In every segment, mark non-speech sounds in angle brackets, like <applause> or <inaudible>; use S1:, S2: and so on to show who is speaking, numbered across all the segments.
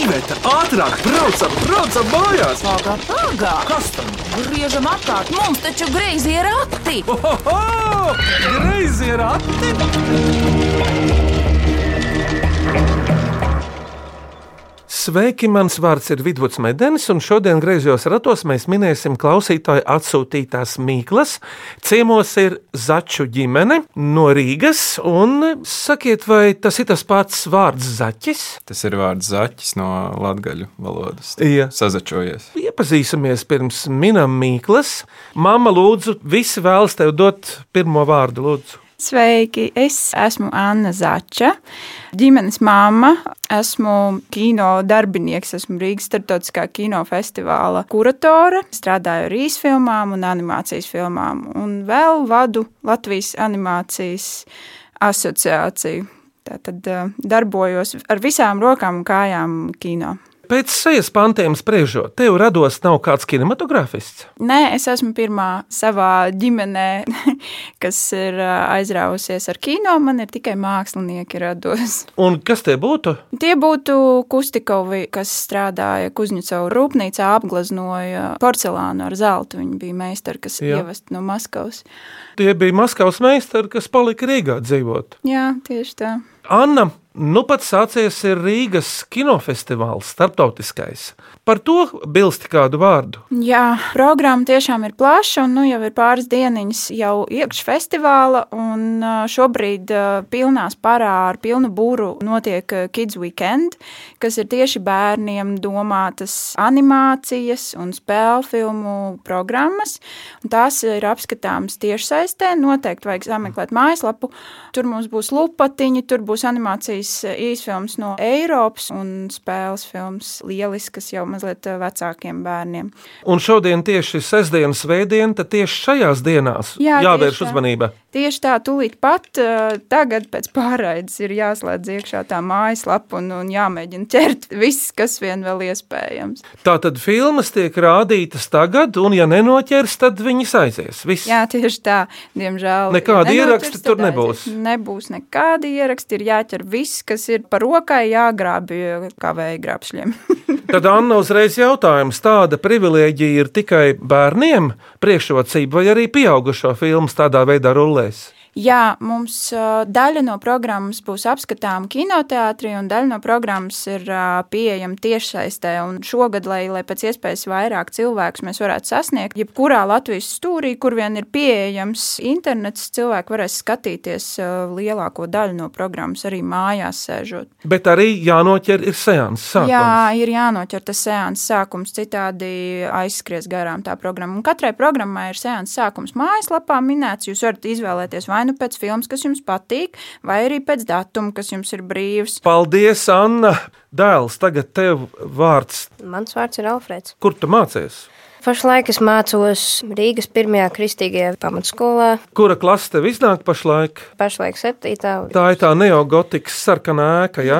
S1: Iveta, ātrāk, braucam, braucam mājās!
S2: Pagā, pagā!
S1: Kas tam?
S2: Griežam apkārt, mums taču greizi ir rati!
S1: Ohoho! Greizi ir ati!
S3: Sveiki, mans vārds ir Vidvuds Medenis, un šodien griezos ratos mēs minēsim klausītāju atsūtītās mīklas. Ciemos ir Začu ģimene no Rīgas, un sakiet, vai tas ir tas pats vārds Zaķis?
S4: Tas ir vārds zaķis no latgaļu valodas.
S3: Jā.
S4: Sazačojies.
S3: Iepazīsimies pirms minam mīklas. Mama, lūdzu, visi vēlas tev dot pirmo vārdu, lūdzu.
S5: Sveiki, es esmu Anna Zāča, ģimenes māma, esmu kino darbinieks, esmu Rīgas starptautiskā kinofestivāla kuratore, strādāju ar īsfilmām un animācijas filmām, un vēl vadu Latvijas animācijas asociāciju. Tātad eh, darbojos ar visām rokām un kājām kino.
S3: Pēc sejas pantiem spriežot, tev rados nav kāds kinematogrāfists.
S5: Nē, es esmu pirmā savā ģimenē, <laughs> kas ir eh, aizrāvusies ar kino. Man ir tikai mākslinieki rados.
S3: Un kas tie būtu?
S5: Tie būtu Kustikovi, kas strādāja Kuzņicovā rūpnīcā, apgleznoja porcelānu ar zeltu. Viņi bija meistari, kas
S3: Jā.
S5: ievest no Maskavas.
S3: Tie bija Maskavas meistari, kas palika Rīgā dzīvot.
S5: Jā, tieši tā.
S3: Anna, nu pat sācies ir Rīgas kinofestivāls, starptautiskais. Par to bilsti kādu vārdu.
S5: Jā, programma tiešām ir plaša, un nu, jau ir pāris dienas jau iekšā festivāla. Un ā, šobrīd ā, pilnā parā ar pilnu būru notiek ā, Kids Weekend, kas ir tieši bērniem domātas animācijas un spēļu filmu programmas. Un tās ir apskatāmas tiešsaistē. Noteikti vajag sameklēt mājaslapu. Tur mums būs lupatiņi, tur būs animācijas ā, īsfilms no Eiropas un spēles films lielisks jau mazliet ā, vecākiem bērniem.
S3: Un šodien tieši sestdien, svētdien, tad tieši šajās dienās
S5: Jā,
S3: jāvērš
S5: tieši tā.
S3: uzmanība.
S5: Tieši tā, tūlīt pat eh, tagad pēc pārraides ir jāslēdz iekšā tā mājaslapa un, un jāmēģina ķert viss, kas vien vēl iespējams.
S3: Tātad filmas tiek rādītas tagad, un ja nenoķers, tad viņas aizies. Viss.
S5: Jā, tieši tā, diemžēl.
S3: Nekādi
S5: ja nenoķers,
S3: ieraksti
S5: tad
S3: tur nebūs.
S5: aizies. Nebūs nekādi ieraksti, ir jāķer viss, kas ir par rokai, jāgrābj eh, kā vēja <laughs> grābšļiem.
S3: Tad Anna uzreiz jautājums, tāda privilēģija ir tikai bērniem, priekšrocība vai arī pieaugušo filmas tādā veidā rullēs?
S5: Jā, mums ā, daļa no programmas būs apskatāma kinoteātrī, un daļa no programmas ir ā, pieejama tiešsaistē. Un Šogad, lai, lai pēc iespējas vairāk cilvēku mēs varētu sasniegt, jebkurā Latvijas stūrī, kur vien ir pieejams internets, cilvēki varēs skatīties ā, lielāko daļu no programmas arī mājās sēžot.
S3: Bet arī jānoķer ir seanss. sākums.
S5: Jā, ir jānoķer tas sēnes sākums, citādi aizskries garām tā programma. Un katrai programmai ir sēnes sākums mājaslapā minēts. Jūs varat izvēlēties vai nu pēc filmas, kas jums patīk, vai arī pēc datuma, kas jums ir brīvs.
S3: Paldies, Anna! Dēls, tagad tev vārds.
S6: Mans vārds ir Alfrēds.
S3: Kur tu mācies?
S6: Pašlaik es mācos Rīgas pirmajā kristīgajā pamatskolā,
S3: Kura klase tev iznāk pašlaik?
S6: pašlaik septītā.
S3: Tā ir tā neogotika sarkanā ēka. Ja?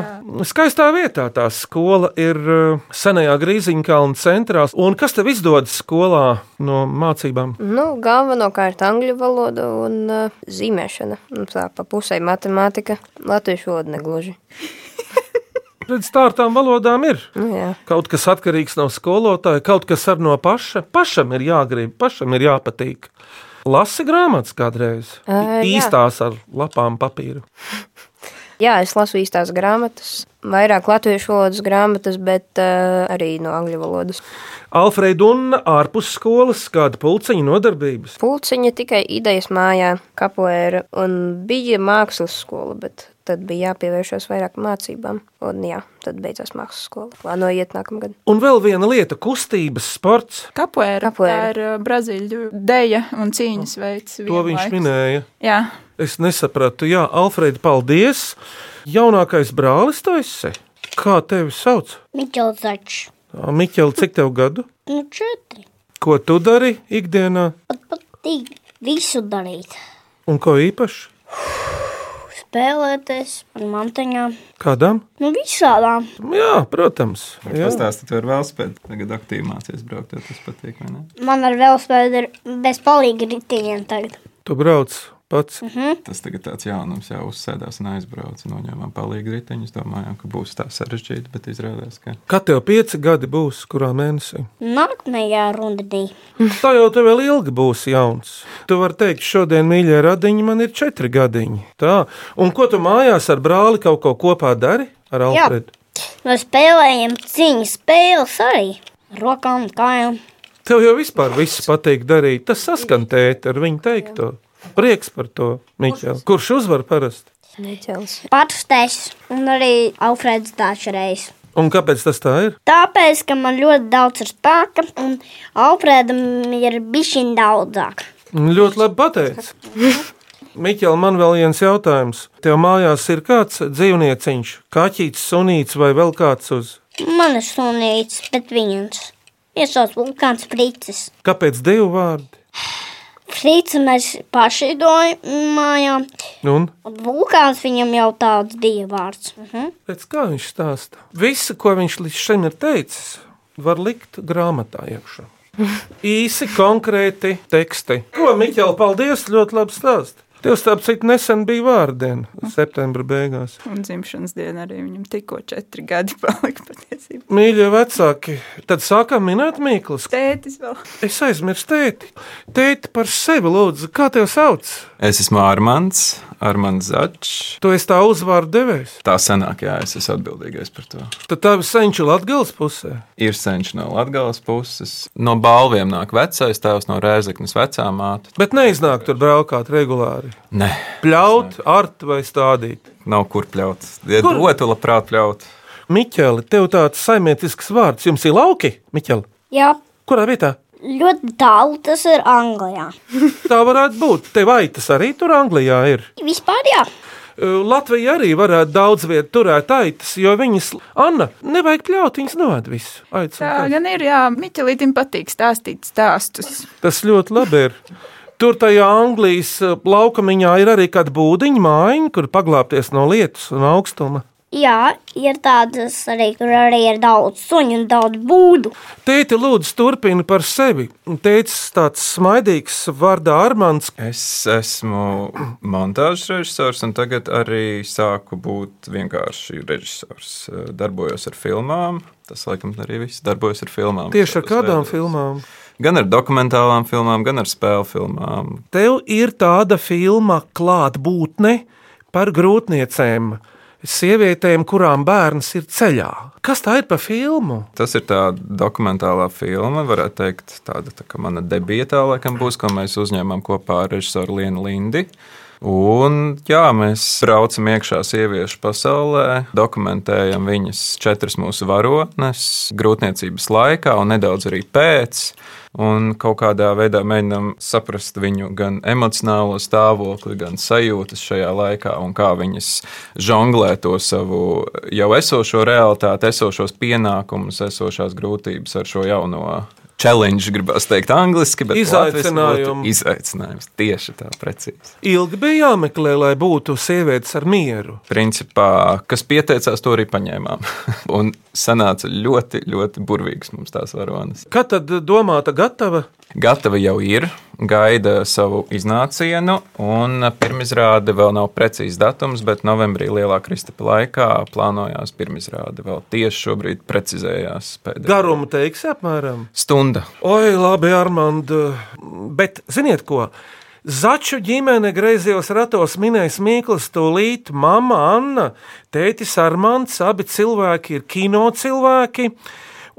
S3: Skaistā vietā tā skola ir uh, senajā Grīziņkalna centrā. Un kas tev izdodas skolā no mācībām?
S6: Nu, galvenokārt angļu valoda un uh, zīmēšana. Nu, tā pa pusē matemātika, latviešu valoda negluži.
S3: Redz, tā ar tām valodām ir.
S6: Nu, jā.
S3: Kaut kas atkarīgs no skolotāja, kaut kas ar no paša. Pašam ir jāgrib, pašam ir jāpatīk. Lasi grāmatas kādreiz.
S6: Ā, jā.
S3: Īstās ar lapām papīru.
S6: jā, es lasu īstās grāmatas, vairāk latviešu valodas grāmatas, bet uh, arī no angļu valodas.
S3: Alfrēda un ārpus skolas kāda pulciņa nodarbības.
S6: Pulciņa tikai idejas mājā, kapoēra un bija mākslas skola, bet tad bija jāpievēršas vairāk mācībām. Un jā, tad beidzās mākslas skola. Plānoju iet nākamgad.
S3: Un vēl viena lieta - kustības sports.
S5: Kapuēra, tā
S6: Capoeira.
S5: ir ā, Brazīļu deja un cīņas veids.
S3: Nu, To viņš
S5: vienlaikus.
S3: minēja.
S5: Jā.
S3: Es nesapratu, Jā, Alfrēda, paldies. Jaunākais brālis tu esi. Kā tevi sauc?
S7: Miķels Zaļš.
S3: Miķeli, cik tev gadu?
S7: Nu, četri.
S3: Ko tu dari ikdienā
S7: Pat patīk visu darīt.
S3: un ko īpaši?
S7: Spēlēties ar mantiņām.
S3: Kādam?
S7: Nu, visādām.
S3: Jā, protams. Jā.
S4: Pastāstīt, var vēl spēt, tagad aktīvi mācīties braukt, jo tas patīk, vai ne?
S7: Man ar velospēdu ir bezpalīgi ritiņiem tagad.
S3: Tu brauc pats.
S4: Tas tagad tāds jaunums jau uzsēdās un aizbrauca. Noņēmām palīgi riteņus, domājām, ka būs tā sarežģīti, bet izrādās, ka
S3: Kad tev pieci gadi būs, kurā mēnesī?
S7: Nākamajā rudenī.
S3: Tā jau tev vēl ilgi būs jauns. Tu vari teikt, šodien, mīļie radiņi, man ir četri gadiņi. Tā, un ko tu mājās ar brāli kaut ko kopā dari? Ar
S7: Jā.
S3: Alfredu.
S7: Mēs spēlējam cīņu spēles arī. Ar Rokām, kājām.
S3: Tev jau vispār viss patīk darīt. Tas saskan tēti ar viņu teikto. Prieks par to, Miķel. Kurš uzvar parasti?
S6: Miķels.
S7: Pārsteigts un arī Alfrēds dažreiz.
S3: Un kāpēc tas tā ir?
S7: Tāpēc, ka man ļoti daudz ir spēka, un Alfrēdam ir bijis viņa daudzāk.
S3: Ļoti labi pateicis. Miķel, man vēl viens jautājums. Tev mājās ir kāds dzīvnieciņš, kaķis, sunīts vai vēl kāds uz?
S7: Man ir sunīts, bet viņš ir savs vulkāns Frīcis.
S3: Kāpēc divi vārdi?
S7: Frīcis mēs paši dojam mājā.
S3: Un?
S7: Vulkāns viņam jau tāds dievvvārds. Uh -huh.
S3: Pēc kā viņš stāsta? Visu, ko viņš līdz šim ir teicis, var likt grāmatā iekšā. Īsi, konkrēti teksti. Ko, Miķel, paldies! Ļoti labi stāst. Tev, starp citu, nesen bija vārdiena, septembra beigās.
S5: Un dzimšanas diena arī viņam tikko četri gadi <laughs> palika patiesībā.
S3: Mīļie vecāki, tad sākām minēt Mīklas.
S5: Tētis vēl.
S3: Es aizmirsu tēti. Tēti par sevi lūdzu, kā tevi sauc?
S4: es esmu Armāns, Armāns Zaķis.
S3: Tu esi tā uzvārdu devējs.
S4: Tā sanāk, jā, es esmu atbildīgais par to.
S3: Tad tavi senči Latgales pusē.
S4: Ir senčs no Latvijas puses. No balviem nāk vecais tēvs, no Rēzaknes vecā māte.
S3: Bet neiznāk tur braukāt regulāri.
S4: Nē,
S3: Pļaut, art vai stādīt.
S4: nav kur pļaut. Ja
S3: Kur?
S4: dotu, labprāt, pļaut.
S3: Miķeli, tev tāds saimniecisks vārds, jums ir lauki, Miķeli.
S7: Jā,
S3: Kurā vietā?
S7: ļoti tālu tas ir Anglijā.
S3: Tā varētu būt. Te vai tas arī tur Anglijā ir?
S7: Vispār jā,
S3: Uh, Latvija arī varētu daudz vietu turēt aitas, jo viņas, Anna, nevajag kļaut, viņas novada visu. Aitas un
S5: Tā
S3: kājas.
S5: gan ir, jā, Miķelītim patīk stāstīt stāstus.
S3: Tas ļoti labi ir. Tur tajā Anglijas uh, laukamiņā ir arī kāda būdiņa mājiņa, kur paglāpties no lietus un augstuma.
S7: jā, ir tādas arī, kur arī ir daudz suņu un daudz būdu.
S3: Tēti, lūdzu, turpini par sevi. Tētis tāds smaidīgs, vārdā Armands.
S4: Es esmu montāžas režisors, un tagad arī sāku būt vienkārši režisors. Darbojos ar filmām. Tas, laikam, arī viss darbojos ar filmām.
S3: Tieši ar kādām
S4: Šādos veidos.
S3: filmām?
S4: Gan ar dokumentālām filmām, gan ar spēļu filmām.
S3: Tev ir tāda filma klātbūtne par grūtniecēm, sievietēm, kurām bērns ir ceļā. Kas tā ir par filmu?
S4: Tas ir tā dokumentālā filma, varētu teikt, tāda tā kā mana debītā, laikam, būs, ko mēs uzņēmām kopā ar režisoru Lienu Lindi. Un, jā, mēs braucam iekšā sieviešu pasaulē, dokumentējam viņas četras mūsu varonas, grūtniecības laikā un nedaudz arī pēc. Un kaut kādā veidā mēģinām saprast viņu gan emocionālo stāvokli, gan sajūtas šajā laikā, un kā viņas žonglē to savu jau esošo realitāti, esošos pienākumus, esošās grūtības ar šo jauno. Challenge, gribas teikt, angliski, bet latviski būtu
S3: Izaicinājumu.
S4: Izaicinājums tieši tā, precīzi.
S3: Ilgi bija jāmeklē, lai būtu sievietes ar mieru.
S4: Principā, kas pieteicās, to arī paņēmām. <laughs> Un sanāca ļoti, ļoti burvīgs mums tās varonas.
S3: Kad tad domāta gatava?
S4: Gatava jau ir, gaida savu iznācienu, un pirmizrāde vēl nav precīzs datums, bet novembrī Lielā Kristapa laikā plānojās pirmizrāde. Vēl tieši šobrīd precizējās pēdējā
S3: Garumu teiks apmēram.
S4: stunda.
S3: Oi, labi, Armand, bet ziniet ko? Začu ģimene griezījos ratos minēs Mīkls, tūlīt, mama Anna, tētis Armands, abi cilvēki ir kino cilvēki,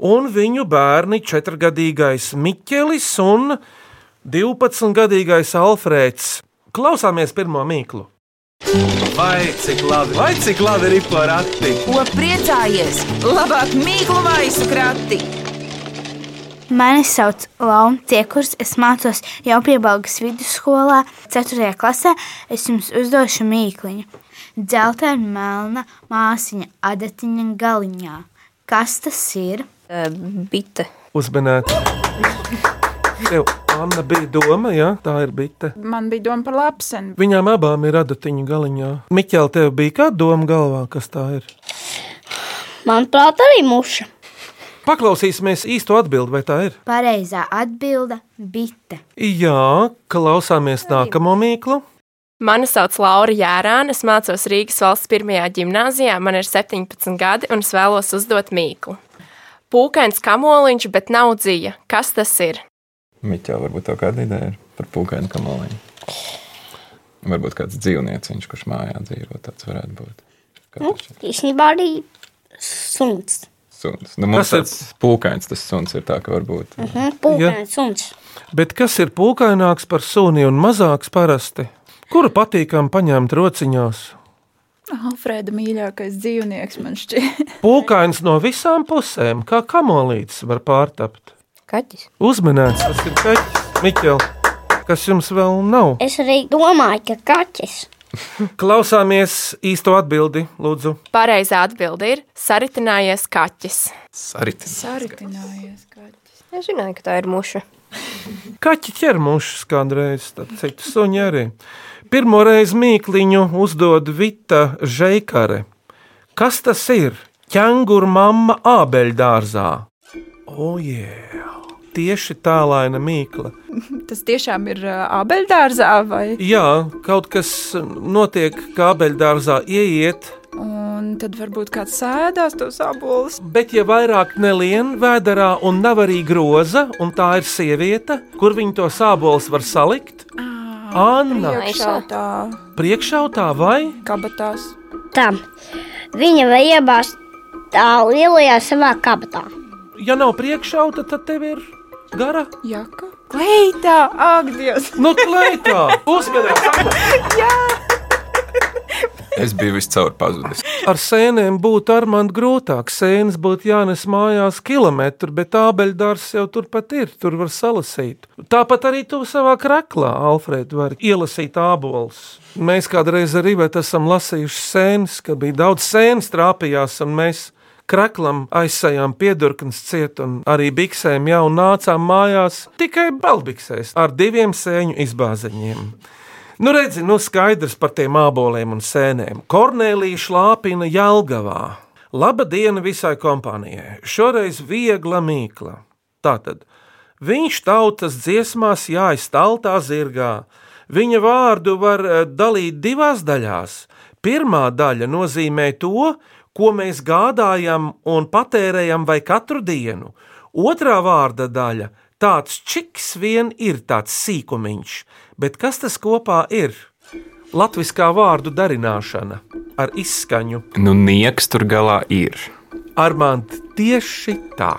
S3: un viņu bērni četrgadīgais Miķelis un 12gadīgais Alfrēds. Klausāmies pirmo mīklu.
S1: Vai cik labi, vai cik labi ir porakti?
S2: Ko priecājies? Labāk mīklu maisu krati!
S8: Mani sauc Launa Ciekurs, es mācos jau piebalgas vidusskolā, 4. klasē. Es jums uzdošu mīkliņu. Dzeltena melna māsiņa, adatiņa galiņā. Kas tas ir?
S6: Eh, Bite.
S3: Uzminēt. Tev, Anna, bija doma, jā, tā ir bite.
S5: Man bija doma par lapsenu.
S3: Viņām abām ir adatiņa galiņā. Miķel, tev bija kāda doma galvā, kas tā ir?
S7: Manuprāt, arī muša.
S3: Paklausīsimies īsto atbildi, vai tā ir?
S8: Pareizā atbilde - bite.
S3: Jā, klausāmies nākamo mīklu.
S9: Mani sauc Laura Jērāna, es mācos Rīgas valsts pirmajā gimnāzijā, man ir 17 gadi un es vēlos uzdot mīklu. Pūkains kamoliņš, bet nav dzīja. Kas tas ir?
S4: Miķā varbūt tā kāda ideja ir par pūkainu kamoliņu. Varbūt kāds dzīvnieciņš, kurš mājā dzīvo, tāds varētu būt.
S7: Nu,
S4: Kāds
S7: īstenībā arī suns.
S4: suns. Nu, mums
S3: Kas ir-
S4: tāds pūkains tas suns ir tā, ka varbūt. Uh -huh.
S7: Nu, Pūkains suns.
S3: Bet kas ir pūkaināks par suni un mazāks parasti? Kuru patīkam paņemt rociņās?
S5: Alfrēda mīļākais dzīvnieks man šķiet.
S3: Pūkains no visām pusēm, kā kamolīts, var pārtapt.
S6: Kaķis.
S3: Uzminēts, tas ir kaķis, Miķel. Kas jums vēl nav?
S7: Es arī domāju, ka kaķis.
S3: Klausāmies īsto atbildi, lūdzu.
S9: Pareizā atbilde ir saritinājies kaķis.
S4: Sarits.
S5: Saritinājies kaķis.
S6: Es zināju, ka tā ir muša.
S3: Kaķi ķer mušas kādreiz, tad citu suņi arī. Pirmoreiz mīkliņu uzdod Vita Žekare. Kas tas ir? Ķengur mamma ābeļdārzā. O, oh, jē! Yeah. Tieši tālaina mīkla.
S5: Tas tiešām ir ā, abeļdārzā vai?
S3: Jā, kaut kas notiek, kā ābeļdārzā ieiet,
S5: Un tad varbūt kāds sēdās tos abolus.
S3: bet ja vairāk nelien vēdā un nav arī groza, un tā ir sieviete, kur viņa to sābols var salikt, Anna
S5: Iekšā tā
S3: priekšautā vai?
S5: kabatās.
S7: Tam. Viņa vai iebāzt tā lielajā savā kabatā.
S3: ja nav priekšauta, tad tev ir gara.
S5: Jaka? Kleitā! Ak, Dievs!
S3: Nu, klētā! Uzmanīgi!
S4: Es biju viscaur pazudis.
S3: Ar sēnēm būtu ar man grūtāk. Sēnes būtu jānes mājās kilometru, bet ābeļdārs jau turpat ir, tur var salasīt. Tāpat arī tu savā kraklā, Alfred, vari ielasīt ābolus. Mēs kādreiz arī bet esam lasījuši sēnes, kad bija daudz sēnes trāpījās, un mēs kraklam aizsējām piedurknes ciet, un arī biksēm jau nācām mājās tikai balbiksēs ar diviem sēņu izbāziņiem. Nu, redzi, nu skaidrs par tiem māboliem un sēnēm. Kornelija šlāpina Jelgavā. Laba diena visai kompānijai. Šoreiz viegla mīkla. Tātad, viņš tautas dziesmās jāizstaltā zirgā. Viņa vārdu var eh, dalīt divās daļās. Pirmā daļa nozīmē to, ko mēs gādājam un patērējam vai katru dienu. Otrā vārda daļa - tāds čiks vien ir tāds sīkumiņš, bet kas tas kopā ir? Latviskā vārdu darināšana ar izskaņu.
S4: Nu, nieks tur galā ir.
S3: Armānt tieši tā.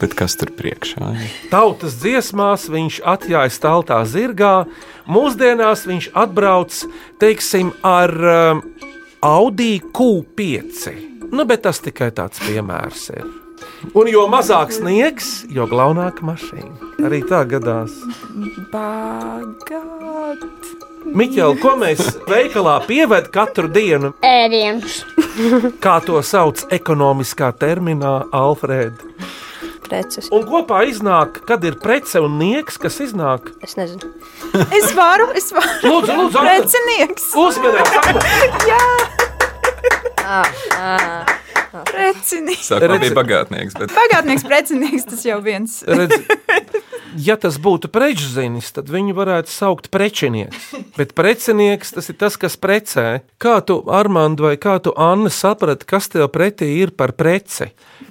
S4: Bet kas tur priekšā ir?
S3: Tautas dziesmās viņš atjāja stāvā zirgā, mūsdienās viņš atbrauc teiksim, ar um, Audi Q5. Nu, bet tas tikai tāds piemērs ir. Un jo mazāk sniegs, jo glaunāka mašīna. Arī tā gadās.
S5: Bagāt!
S3: Miķel, ko mēs veikalā pievedam katru dienu?
S7: Ēdiens.
S3: Kā to sauc ekonomiskā terminā, Alfrēda?
S6: Preces.
S3: Un kopā iznāk, kad ir prece un nieks, kas iznāk.
S6: Es nezinu.
S5: Es varu, es varu!
S3: Lūdzu, lūdzu, Alfred.
S5: Precinieks!
S3: Uzmanīgi!
S5: Precinieks!
S4: Sākumā
S3: Redzi-
S4: bija bagātnieks, bet
S5: Bagātnieks, precinieks, tas jau viens.
S3: Redz, ja tas būtu prečzinis, tad viņu varētu saukt par prečinieks. Bet precinieks tas ir tas, kas precē. Kā tu, Armand, vai kā tu, Anna, saprati, kas tev pretī ir par preci?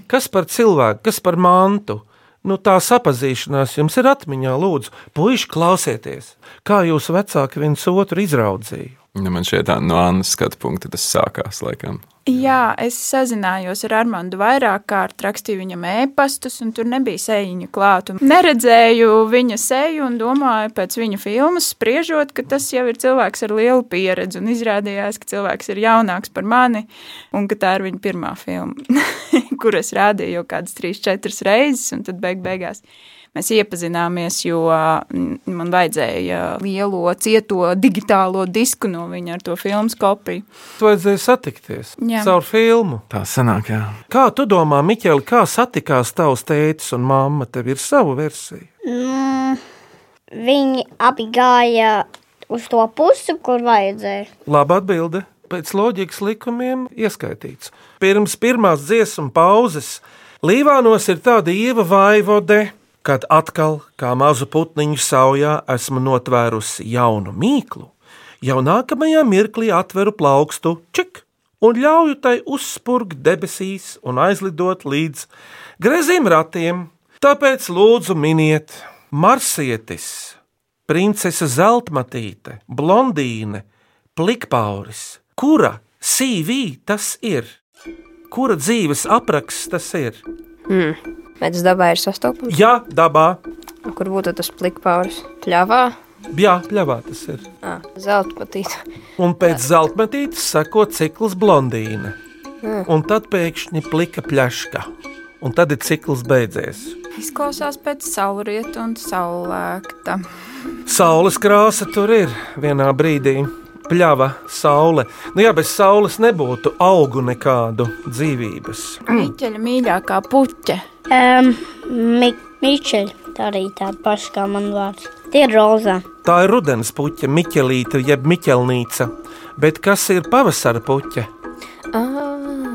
S3: Kas par cilvēku, kas par mantu? Nu, tā sapazīšanās jums ir atmiņā, lūdzu, puiši klausieties, kā jūs vecāki viens otru izraudzīja.
S4: nu, man šeit tā no Annas skatu punkta tas sākās laikam.
S5: Jā, es sazinājos ar Armānu vairāk kārt, rakstīju viņam ēpastus, un tur nebija sēņa klāta. Neredzēju viņa seju un domāju, pēc viņa filmas spriežot, ka tas jau ir cilvēks ar lielu pieredzi. Un izrādījās, ka cilvēks ir jaunāks par mani, un ka tā ir viņa pirmā filma, <laughs> kur es rādīju jau kādas trīs, četras reizes, un tad beig beigās. Mēs iepazināmies, jo mm, man vajadzēja lielo, cieto digitālo disku no viņa ar to filmas kopiju.
S3: Tu vajadzēja satikties
S5: Jā.
S3: caur filmu.
S4: Tā sanāk, jā.
S3: Kā tu domā, Miķeli, kā satikās tavs tēvs un mamma? Tev ir sava versija.
S7: Viņi abi gāja uz to pusi, kur vajadzēja.
S3: Labi atbilde. Pēc loģikas likumiem ieskaitīts. Pirms pirmās dziesmu pauzes Līvānos ir tāda ieva vaivode, kad atkal, kā mazu putniņu saujā, esmu notvērusi jaunu mīklu. Jau nākamajā mirklī atveru plaukstu čik un ļauju tai uzspurgt debesīs un aizlidot līdz grezim ratiem. Tāpēc lūdzu miniet marsietis, princese zeltmatīte, blondīne, plikpauris, kura CV tas ir? Kura dzīves apraksts tas ir?
S6: Mēģis dabā ir sastopams.
S3: Jā, dabā,
S6: Kur būtu tas plikpauris? Pļāvā.
S3: jā, pļāvā tas ir.
S6: Ah, zelta patīk.
S3: Un pēc zeltmetītes seko cikls blondīne. Un tad pēkšņi plika plaška. Un tad ir cikls beidzies.
S5: Izklausās pēc saulrieta un saulēkta.
S3: Saules krāsa tur ir vienā brīdī. Pļava, saule. Nu, jā, bez saules nebūtu augu nekādu dzīvības.
S5: Mīķeļa mīļākā puķe.
S7: Um, mi Mičeļ, tā arī tāda paša kā man vārds. Tie ir rozā.
S3: Tā ir rudens puķa, miķelīte, jeb miķelnīca. Bet kas ir pavasara puķa?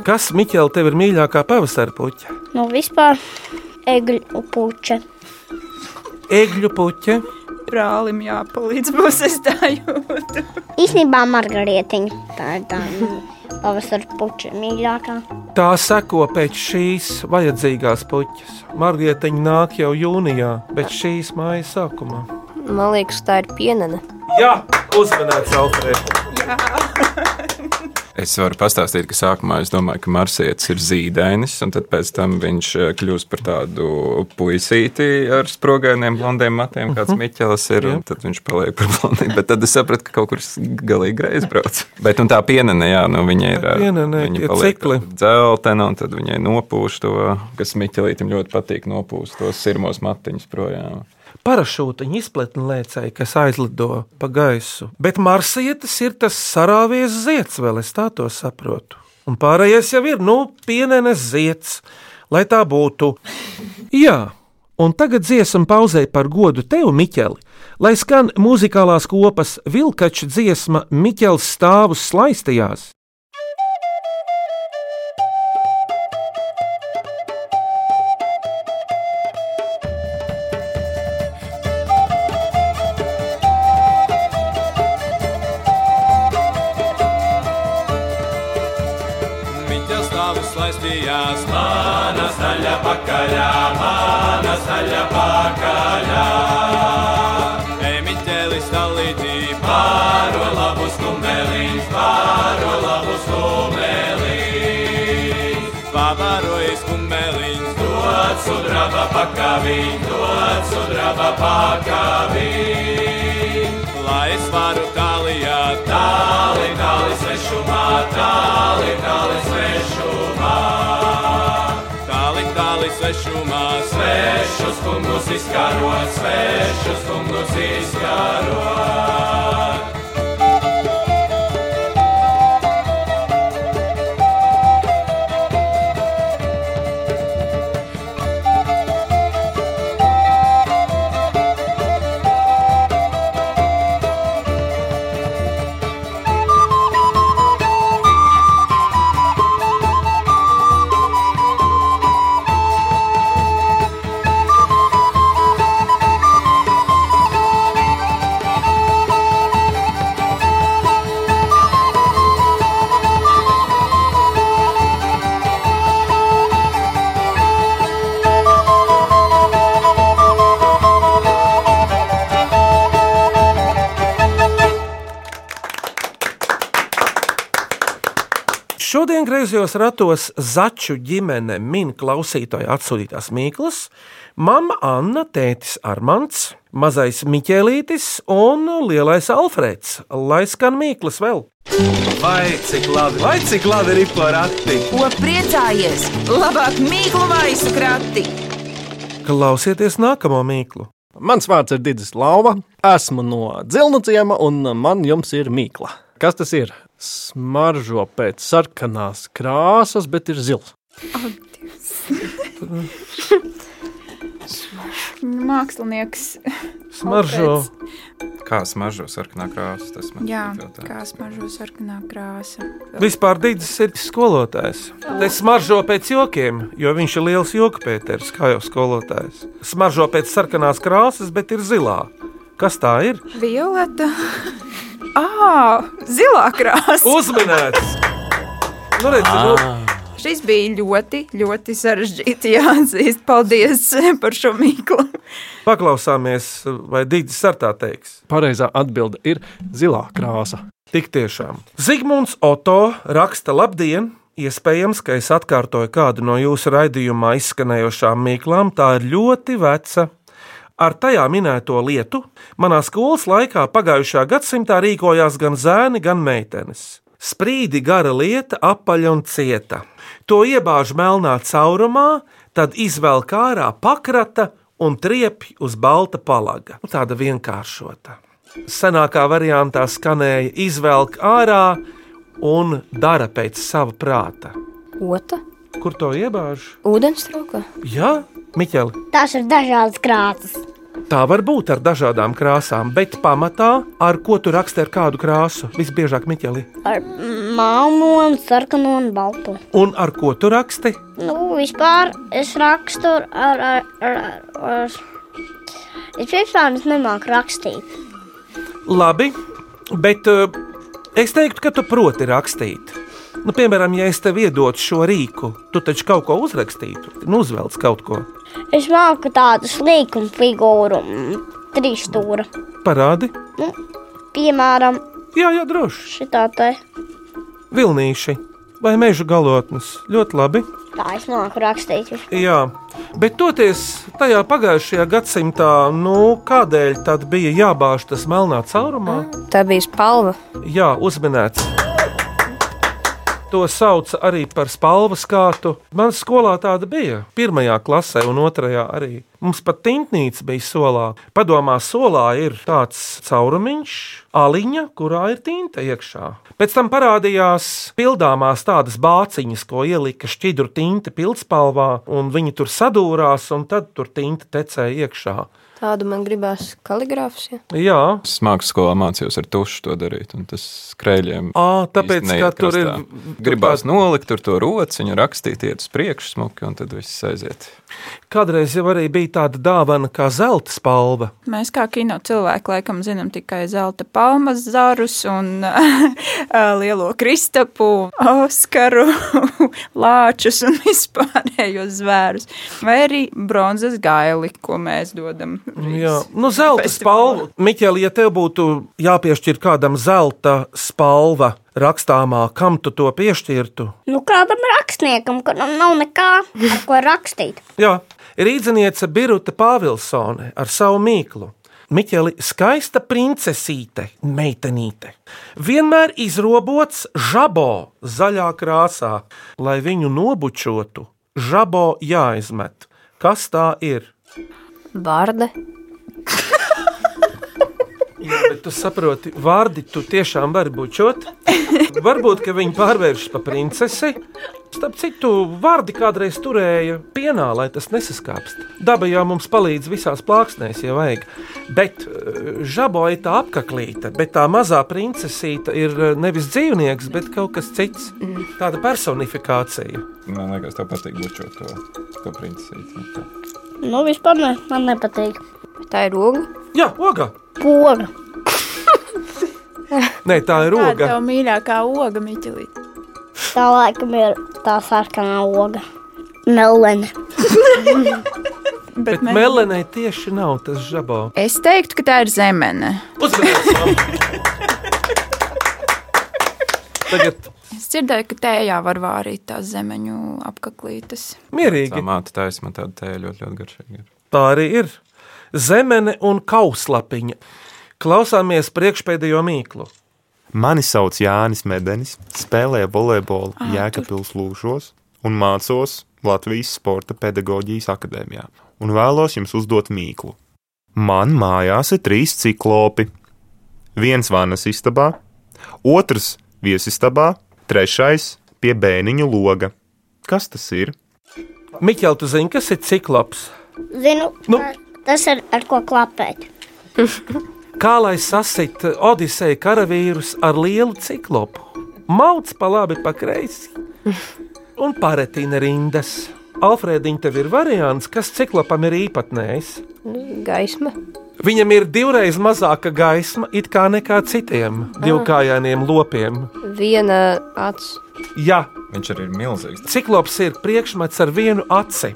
S3: Kas, Miķel, tev ir mīļākā pavasara puķa?
S7: Nu, vispār egļu puča.
S3: Egļu puķa,
S5: Brālim jāpalīdz būs, es tā jūtu.
S7: Īsnībā margarietiņa. Tā ir tā nu, pavasara puča mīļākā.
S3: tā seko pēc šīs vajadzīgās puķas. Margieteņa nāk jau jūnijā, bet šīs māja sākumā.
S6: Man liekas, tā ir pienene.
S3: Jā, uzmanīts, Alfrēds.
S4: Es varu pastāstīt, ka sākumā es domāju, ka marsietis ir zīdainis, un tad pēc tam viņš eh, kļūst par tādu puisīti ar sprogainiem blondiem matiem,
S3: Mhm.
S4: kāds Miķels ir, un tad viņš paliek par blondīnu. Bet tad es sapratu, ka kaut kur s- galīgi greizi brauc. Bet un tā pienene, jā, nu viņa ir. eh,
S3: Pienene, tie
S4: viņa paliek
S3: cikli.
S4: dzeltena, un tad viņai nopūš to, kas Miķelītam ļoti patīk nopūst tos sirmos matiņus projām.
S3: Parašūtiņa izpletne lēcēji, kas aizlido pa gaisu. Bet marsietis ir tas sarāvies zieds, vēl es tā to saprotu. Un pārējais jau ir, nu, pienenes zieds, lai tā būtu. Jā, un tagad dziesmu pauzē par godu tev, Miķeli, lai skan muzikālās kopas vilkaču dziesma Miķels stāvus slaistajās.
S1: Miķa stāvu slaistījās, mana saļa pakaļā, mana saļa pakaļā. Ej, Miķeli stalītī, pāro labu skumēlīs, pāro labu skumēlīs. Pavaroji skumēlīs, dod sudraba pakavī, dod sudraba pakavī. Lai es varu tālijā, tāli, tāli svešumā, tāli, tāli svešumā. Tāli, tāli svešumā, svešus kungus izkarot, svešus kungus izkarot.
S3: Šodien griezos ratos Začu ģimene min klausītāju atsūtītās Mīklas, mamma Anna, tētis Armands, mazais Miķelītis un lielais Alfrēds. Lai skan Mīklas vēl!
S1: Vai cik labi, vai cik labi ir porakti?
S2: Ko priecājies? Labāk mīklu maisu krati!
S3: Klausieties nākamo Mīklu!
S10: Mans vārds ir Digis Lapa. Esmu no Dzelnuciema, un man jums ir mīkla. Kas tas ir? Smaržo pēc sarkanās krāsas, bet ir zils.
S5: Nu, Mākslinieks.
S3: Smaržo!
S4: Kā smaržo sarkanā krāsa, tas man
S5: Jā,
S4: jautājums.
S5: kā smaržo sarkanā krāsa.
S3: Vispār Digis ir skolotājs. Te smaržo pēc jokiem, jo viņš ir liels joku pēters, kā jau skolotājs. Smaržo pēc sarkanās krāsas, bet ir zilā. Kas tā ir?
S5: Violeta. Ah, zilā krāsa.
S3: Uzminēts! Nu, redz, nu,
S5: Šis bija ļoti, ļoti sarežģīti jāatzīst. Paldies par šo mīklu.
S3: paklausāmies, vai Digis ar tā teiks.
S10: Pareizā atbilde ir zilā krāsa.
S3: Tik tiešām. Zigmunds Oto raksta labdien! Iespējams, ka es atkārtoju kādu no jūsu raidījumā izskanējošām mīklām, tā ir ļoti veca. Ar tajā minēto lietu manā skolas laikā pagājušā gadsimtā rīkojās gan zēni, gan meitenes. Sprīdi gara lieta, apaļa un cieta. To iebāž melnā caurumā, tad izvelk ārā pakrata un triepj uz balta palaga. Nu, Tāda vienkāršota senākā variantā skanēja izvelk ārā un dara pēc sava prāta.
S6: Ota?
S3: Kur to iebāž?
S6: Ūdens trauka?
S3: Jā, Miķeli,
S7: Tās ir dažādas krāsas.
S3: tā var būt ar dažādām krāsām, bet pamatā ar ko tu raksti ar kādu krāsu? Visbiežāk, Miķeli,
S7: Ar melno, sarkano un balto.
S3: un ar ko tu raksti?
S7: Nu, vispār es rakstu ar. ar, ar, ar es pirms tam nemāku rakstīt.
S3: Labi, bet eh, es teiktu, ka tu proti rakstīt. Nu, piemēram, ja es tev iedotu šo rīku, tu taču kaut ko uzrakstītu, nu, uzvelc kaut ko.
S7: Es māku tādu slīkumu figūru, mm, trīs stūra.
S3: Parādi,
S7: Piemēram,
S3: jā, jā, droši.
S7: šitā te.
S3: Vilnīši vai meža galotnes. Ļoti labi.
S7: Tā es māku rakstīt.
S3: Jā, bet toties tajā pagājušajā gadsimtā, nu, kādēļ tad bija jābāž tas melnā caurumā?
S6: Tā bija spalva.
S3: Jā, uzminēts. To sauc arī par spalvas kātu. Manā skolā tāda bija. Pirmajā klasē, un otrajā arī. Mums pat tintnīca bija solā. Padomā, solā ir tāds caurumiņš, aliņa, kurā ir tinta iekšā. Pēc tam parādījās pildāmās tādas bāciņas, ko ielika šķidru tinta pildspalvā, un viņi tur sadūrās, un tad tur tinta tecēja iekšā.
S6: Tādu man gribās kaligrāfs. Ja?
S3: Jā,
S4: Es mākslā skolā mācījos ar tušu to darīt, un tas skrējiem.
S3: Ā, tāpēc,
S4: īsti
S3: ka
S4: neiet
S3: tur ir-
S4: krastā. Gribās nolikt tur to rociņu, rakstīt, iet uz priekšu smuki, un tad viss aiziet.
S3: kādreiz jau arī bija tāda dāvana kā zelta spalva.
S5: Mēs kā kino cilvēki laikam zinām tikai zelta palmas zarus un <laughs> lielo kristapu, Oskaru, <laughs> lāčus un vispārējos zvērus. Vai arī bronzas gaili, ko mēs dodam.
S3: Jā, nu, zelta spalva. Miķeli, ja tev būtu jāpiešķir kādam zelta spalva rakstāmā, kam tu to piešķirtu?
S7: Nu, kādam rakstniekam, kuram nav nekā, <laughs> ar ko rakstīt.
S3: Jā, rīzniece Birta Pāvilsone ar savu mīklu. Miķeli, skaista princesīte, meitenīte. Vienmēr izrobots žabo zaļā krāsā, lai viņu nobučotu. Žabo jāizmet. Kas tā ir?
S6: Bārde.
S3: Jā, bet tu saproti, vārdi tu tiešām vari bučot. Varbūt, ka viņi pārvēršas par princesi. Starp citu, vārdi kādreiz turēja pienā, lai tas nesaskāpst. Daba jau mums palīdz visās plāksnēs, ja vajag. Bet eh, žabo ir tā apaklīte, bet tā mazā princesīte ir eh, nevis dzīvnieks, bet kaut kas cits. Tāda personifikācija.
S4: Man liekas, tev patīk bučot to, to princesīti.
S7: Nu, vispār ne, man nepatīk.
S6: Tā ir ogle.
S3: Jā, oga!
S7: Poga.
S3: Nē, tā ir
S5: Tā ir
S3: oga.
S5: tā mīļākā oga, Miķelīte.
S7: Tā laikam ir tā sarkanā oga. Melnē.
S3: Bet melenē tieši nav tas žabo.
S5: Es teiktu, ka tā ir zemene.
S3: Uzmanības! Tagad
S5: Es dzirdēju, ka tējā var vārīt tās zemeņu apkaklītes.
S3: mierīgi.
S4: Tā māte taisa man tādu tēju ļoti, ļoti garšīgu. ir.
S3: Tā arī ir. Zemene un kauslapiņa. Klausāmies priekšpēdējo mīklu.
S11: Mani sauc Jānis Medenis, spēlēju volejbolu Jēkabūras lūšos un mācos Latvijas Sporta pedagoģijas akadēmijā. Un vēlos jums uzdot mīklu. Man mājās ir trīs ciklopi. Viens vānas istabā, otrs viesistabā, trešais pie bēniņu loga. Kas tas ir?
S3: Miķel, tu zini, kas ir ciklops?
S7: Zinu,
S3: Nu.
S7: nu. tas ir ar ko klapēt.
S3: Kā lai sasit Odiseja karavīrus ar lielu ciklopu? Mauc pa labi, pa kreisi un paretina rindas. Alfrēdiņ, tev ir variants, kas ciklopam ir īpatnējs.
S6: Gaisma.
S3: Viņam ir divreiz mazāka gaisma it kā nekā citiem
S5: Ah.
S3: divkājainiem lopiem.
S6: Viena acis.
S3: Jā,
S4: Viņš arī ir milzīgs.
S3: ciklops ir priekšmets ar vienu aci.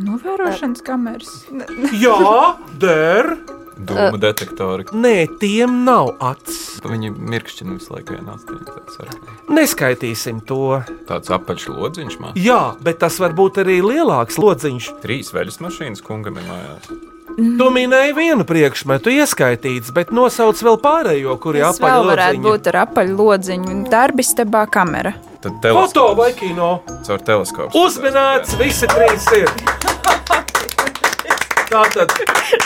S5: Novērošanas kameras. Ne-
S3: Jā, der.
S4: Dūmu detektori.
S3: Nē, tiem nav acis.
S4: Viņi mirkšķina visu laiku vienā stāvā.
S3: Neskaitīsim to.
S4: Tāds apačlodziņš man.
S3: Jā, bet tas var būt arī lielāks lodziņš.
S4: Trīs veļas mašīnas kungam ir mājās.
S3: Tu minēji vienu priekšmetu, ieskaitīts, bet nosauc vēl pārējo, kuri
S5: Tas vēl varētu
S3: apakšlodziņi.
S5: būt ar apaļlodziņu. Darbistabā kamera.
S4: Tad
S3: Foto
S4: teleskops.
S3: vai kino?
S4: Caur teleskopu.
S3: Uzminēts, visi trīs ir. Tātad,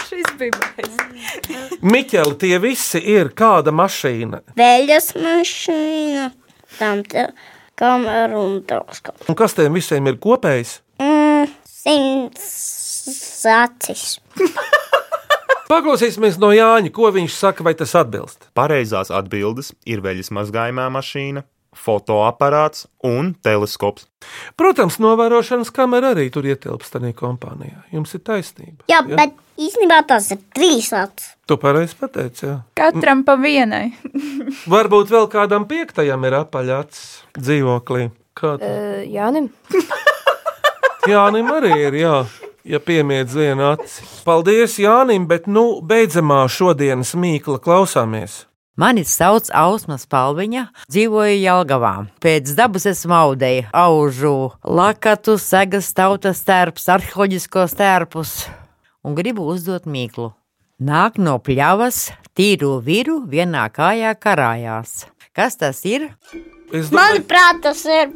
S5: Šis bija baisais.
S3: Miķeli, tie visi ir kāda mašīna.
S7: Vēļas mašīna, tam tā kamera un teleskops.
S3: Un kas tiem visiem ir kopējs?
S7: Mm, simts acis.
S3: Paklausīsimies no Jāņa, ko viņš saka, vai tas atbilst.
S11: Pareizās atbildes ir veļas mazgājumā mašīna, fotoaparāts un teleskops.
S3: Protams, novērošanas kamera arī tur ietilpst tajā kompānijā. Jums ir taisnība.
S7: Jā, ja? bet īstenībā tas ir trīs acis.
S3: Tu pareizi pateici, jā.
S5: Katram pa vienai.
S3: Varbūt vēl kādam piektajam ir apaļāts dzīvoklī. Kā tā?
S6: Uh, Jānim,
S3: Jānim arī ir, jā. Ja piemiedz vienu aci. Paldies Jānim, bet nu beidzamā šodienas mīkla klausāmies.
S12: Mani sauc Ausmas Palviņa, dzīvoju Jelgavā. Pēc dabas esmu audēja, aužu lakatu, segas tautas stērpus, arheoloģiskos stērpus un gribu uzdot mīklu. Nāk no pļavas, tīru viru vienā kājā karājās. Kas tas ir?
S7: Manuprāt, tas ir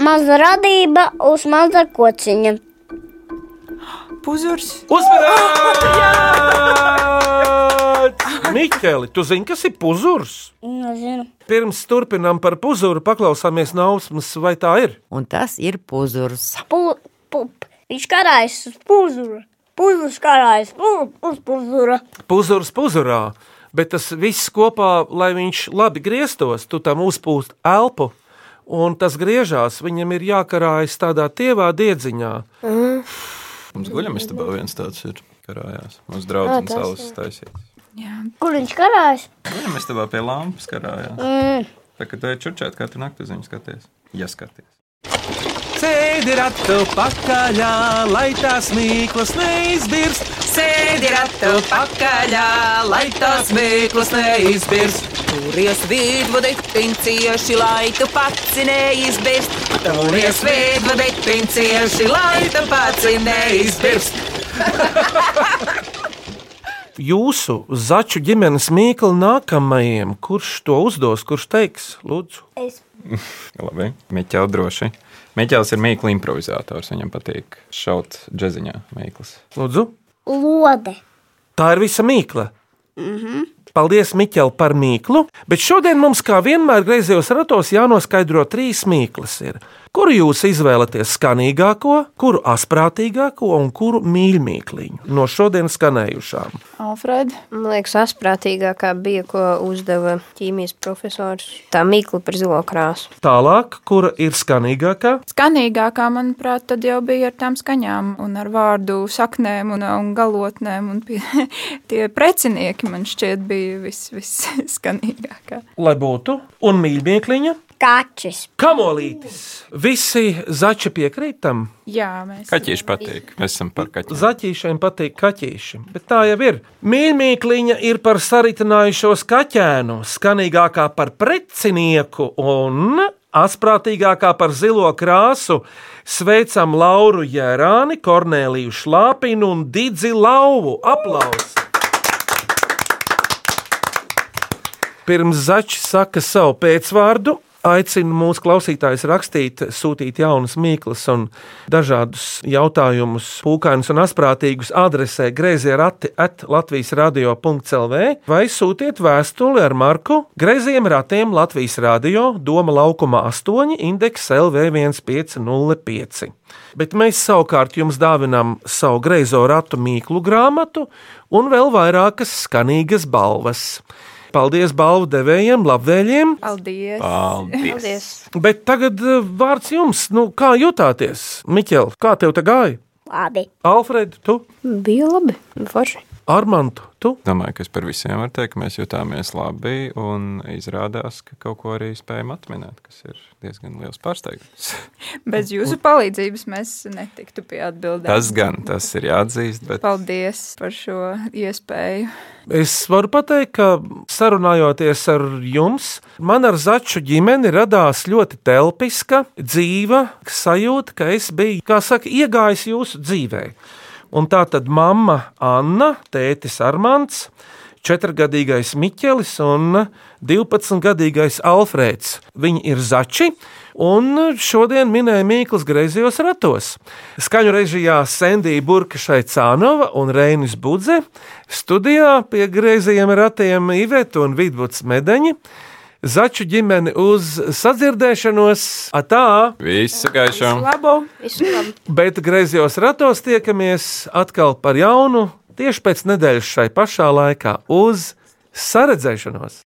S7: maza radība uz maza kociņa.
S5: Puzurs.
S3: Uzmanīgs! Miķeli, tu zini, kas ir puzurs?
S7: Nezinu.
S3: Pirms turpinām par puzuru, paklausāmies nausmas, vai tā ir.
S12: Un tas ir puzurs.
S7: Pu- pup. Viņš karājas uz puzura. Puzurs karājas pu- uz puzura.
S3: Puzurs puzurā, bet tas viss kopā, lai viņš labi grieztos, tu tam uzpūst elpu. Un tas griežās, viņam ir jākarājas tādā tievā diedziņā.
S4: Mums guļamistabā viens tāds ir karājās. Mums
S7: Ā,
S4: draudzens
S7: tas
S4: salas
S7: jā.
S4: taisīt.
S7: Kur viņš karājas?
S4: Guļamistabā pie lampas karājās.
S7: Mm.
S4: Tā kā tu ej čurčēt katru nakti uz viņu skaties. Ja skaties.
S1: Sēdi ratu pakaļā, lai tās mīklas neizbirst.
S2: Sēdi ratu pakaļā, lai tās mīklas neizbirst. Turies vidvadi, pincieši, lai tu pats neizbirst. Turies vidvadi, pincieši, lai tu pats neizbirst.
S3: Jūsu zaķu ģimenes mīklu nākamajam, kurš to uzdos, kurš teiks, lūdzu.
S7: Es
S4: Labi, Miķel droši. Miķels ir mīkla improvizators. Viņam patīk šaut džeziņā mīklas.
S3: lūdzu.
S7: lode.
S3: Tā ir visa mīkla.
S7: Mm -hmm.
S3: Paldies, Miķel, par mīklu. Bet šodien mums, kā vienmēr, griezījos ratos, jānoskaidro trīs mīklas. Ir. Kuru jūs izvēlaties skanīgāko, kuru asprātīgāko un kuru mīļākliņu no šodienas skanējušām?
S5: Alfred.
S6: man liekas, asprātīgākā bija, ko uzdeva ķīmijas profesors. Tā mīkla par zilo krāsu.
S3: Tālāk, kura ir skanīgākā?
S5: Skanīgākā, manuprāt, tad jau bija ar tām skaņām, un ar vārdu saknēm un, un galotnēm. Un pie, <laughs> tie precinieki man šķiet bija <laughs> visskanīgākie. Vis
S3: Lai būtu, un mīļākliņa?
S7: Kaķis.
S3: Kamolītis. Visi zaķi piekrīt tam.
S5: Jā, mēs
S4: Kaķīši patīk. Mēs esam par kaķiem.
S3: Zaķīšiem patīk kaķīši, bet tā jau ir. Mīļākliņa ir par saritinājušos kaķēnu, skanīgākā par precinieku un asprātīgākā par zilo krāsu. Sveicam Lauru Jērāni, Korneliju Šlāpinu un Didzi Lauvu. Aplaus! Pirms zaķis saka savu pēcvārdu, aicinu mūsu klausītājus rakstīt, sūtīt jaunas mīklas un dažādus jautājumus, pūkainus un asprātīgus adresē grazē rati at Latvijas radio. CLV vai sūtiet vēstuli ar marku Grēziem ratiem Latvijas radio Doma laukuma 8 indeks LV1505. Bet mēs savukārt jums dāvinām savu greizo ratu mīklu grāmatu un vēl vairākas skanīgas balvas. Paldies balvu devējiem, labvēlējiem!
S5: Paldies!
S4: Paldies!
S3: Bet tagad eh, vārds jums, nu, kā jutāties? Miķel, kā tev tā gāja?
S7: Labi.
S3: Alfred, tu?
S6: Bija labi. Forši.
S3: Armand, tu?
S4: Domāju, ka es par visiem varu teikt, ka mēs jutāmies labi. Un izrādās, ka kaut ko arī spējam atminēt, kas ir diezgan liels
S7: <laughs>
S4: pārsteigums.
S5: Bez jūsu palīdzības mēs netiktu pie atbildēm.
S4: Tas gan tas ir jāatzīst, bet
S5: Paldies par šo iespēju.
S3: Es varu pateikt, ka sarunājoties ar jums, man ar Zaķu ģimeni radās ļoti telpiska, dzīva sajūta, ka es biju, kā saka, iegājis jūsu dzīvē. Un tā tad mamma Anna, tētis Armāns, četrgadīgais Miķelis un 12-gadīgais Alfrēds. Viņi ir zači. Un šodien minēja Mikls Greizijos ratos. Skaņu režijā Sandija Burka Šaicānova un Reinis Budze. Studijā pie greizajiem ratiem Iveta un Vidvuds Medeņi. Zaķu ģimeni uz sadzirdēšanos, atā!
S4: visu gaišām!
S5: Labu!
S3: Bet griezos ratos tiekamies atkal par jaunu tieši pēc nedēļas šai pašā laikā uz saredzēšanos!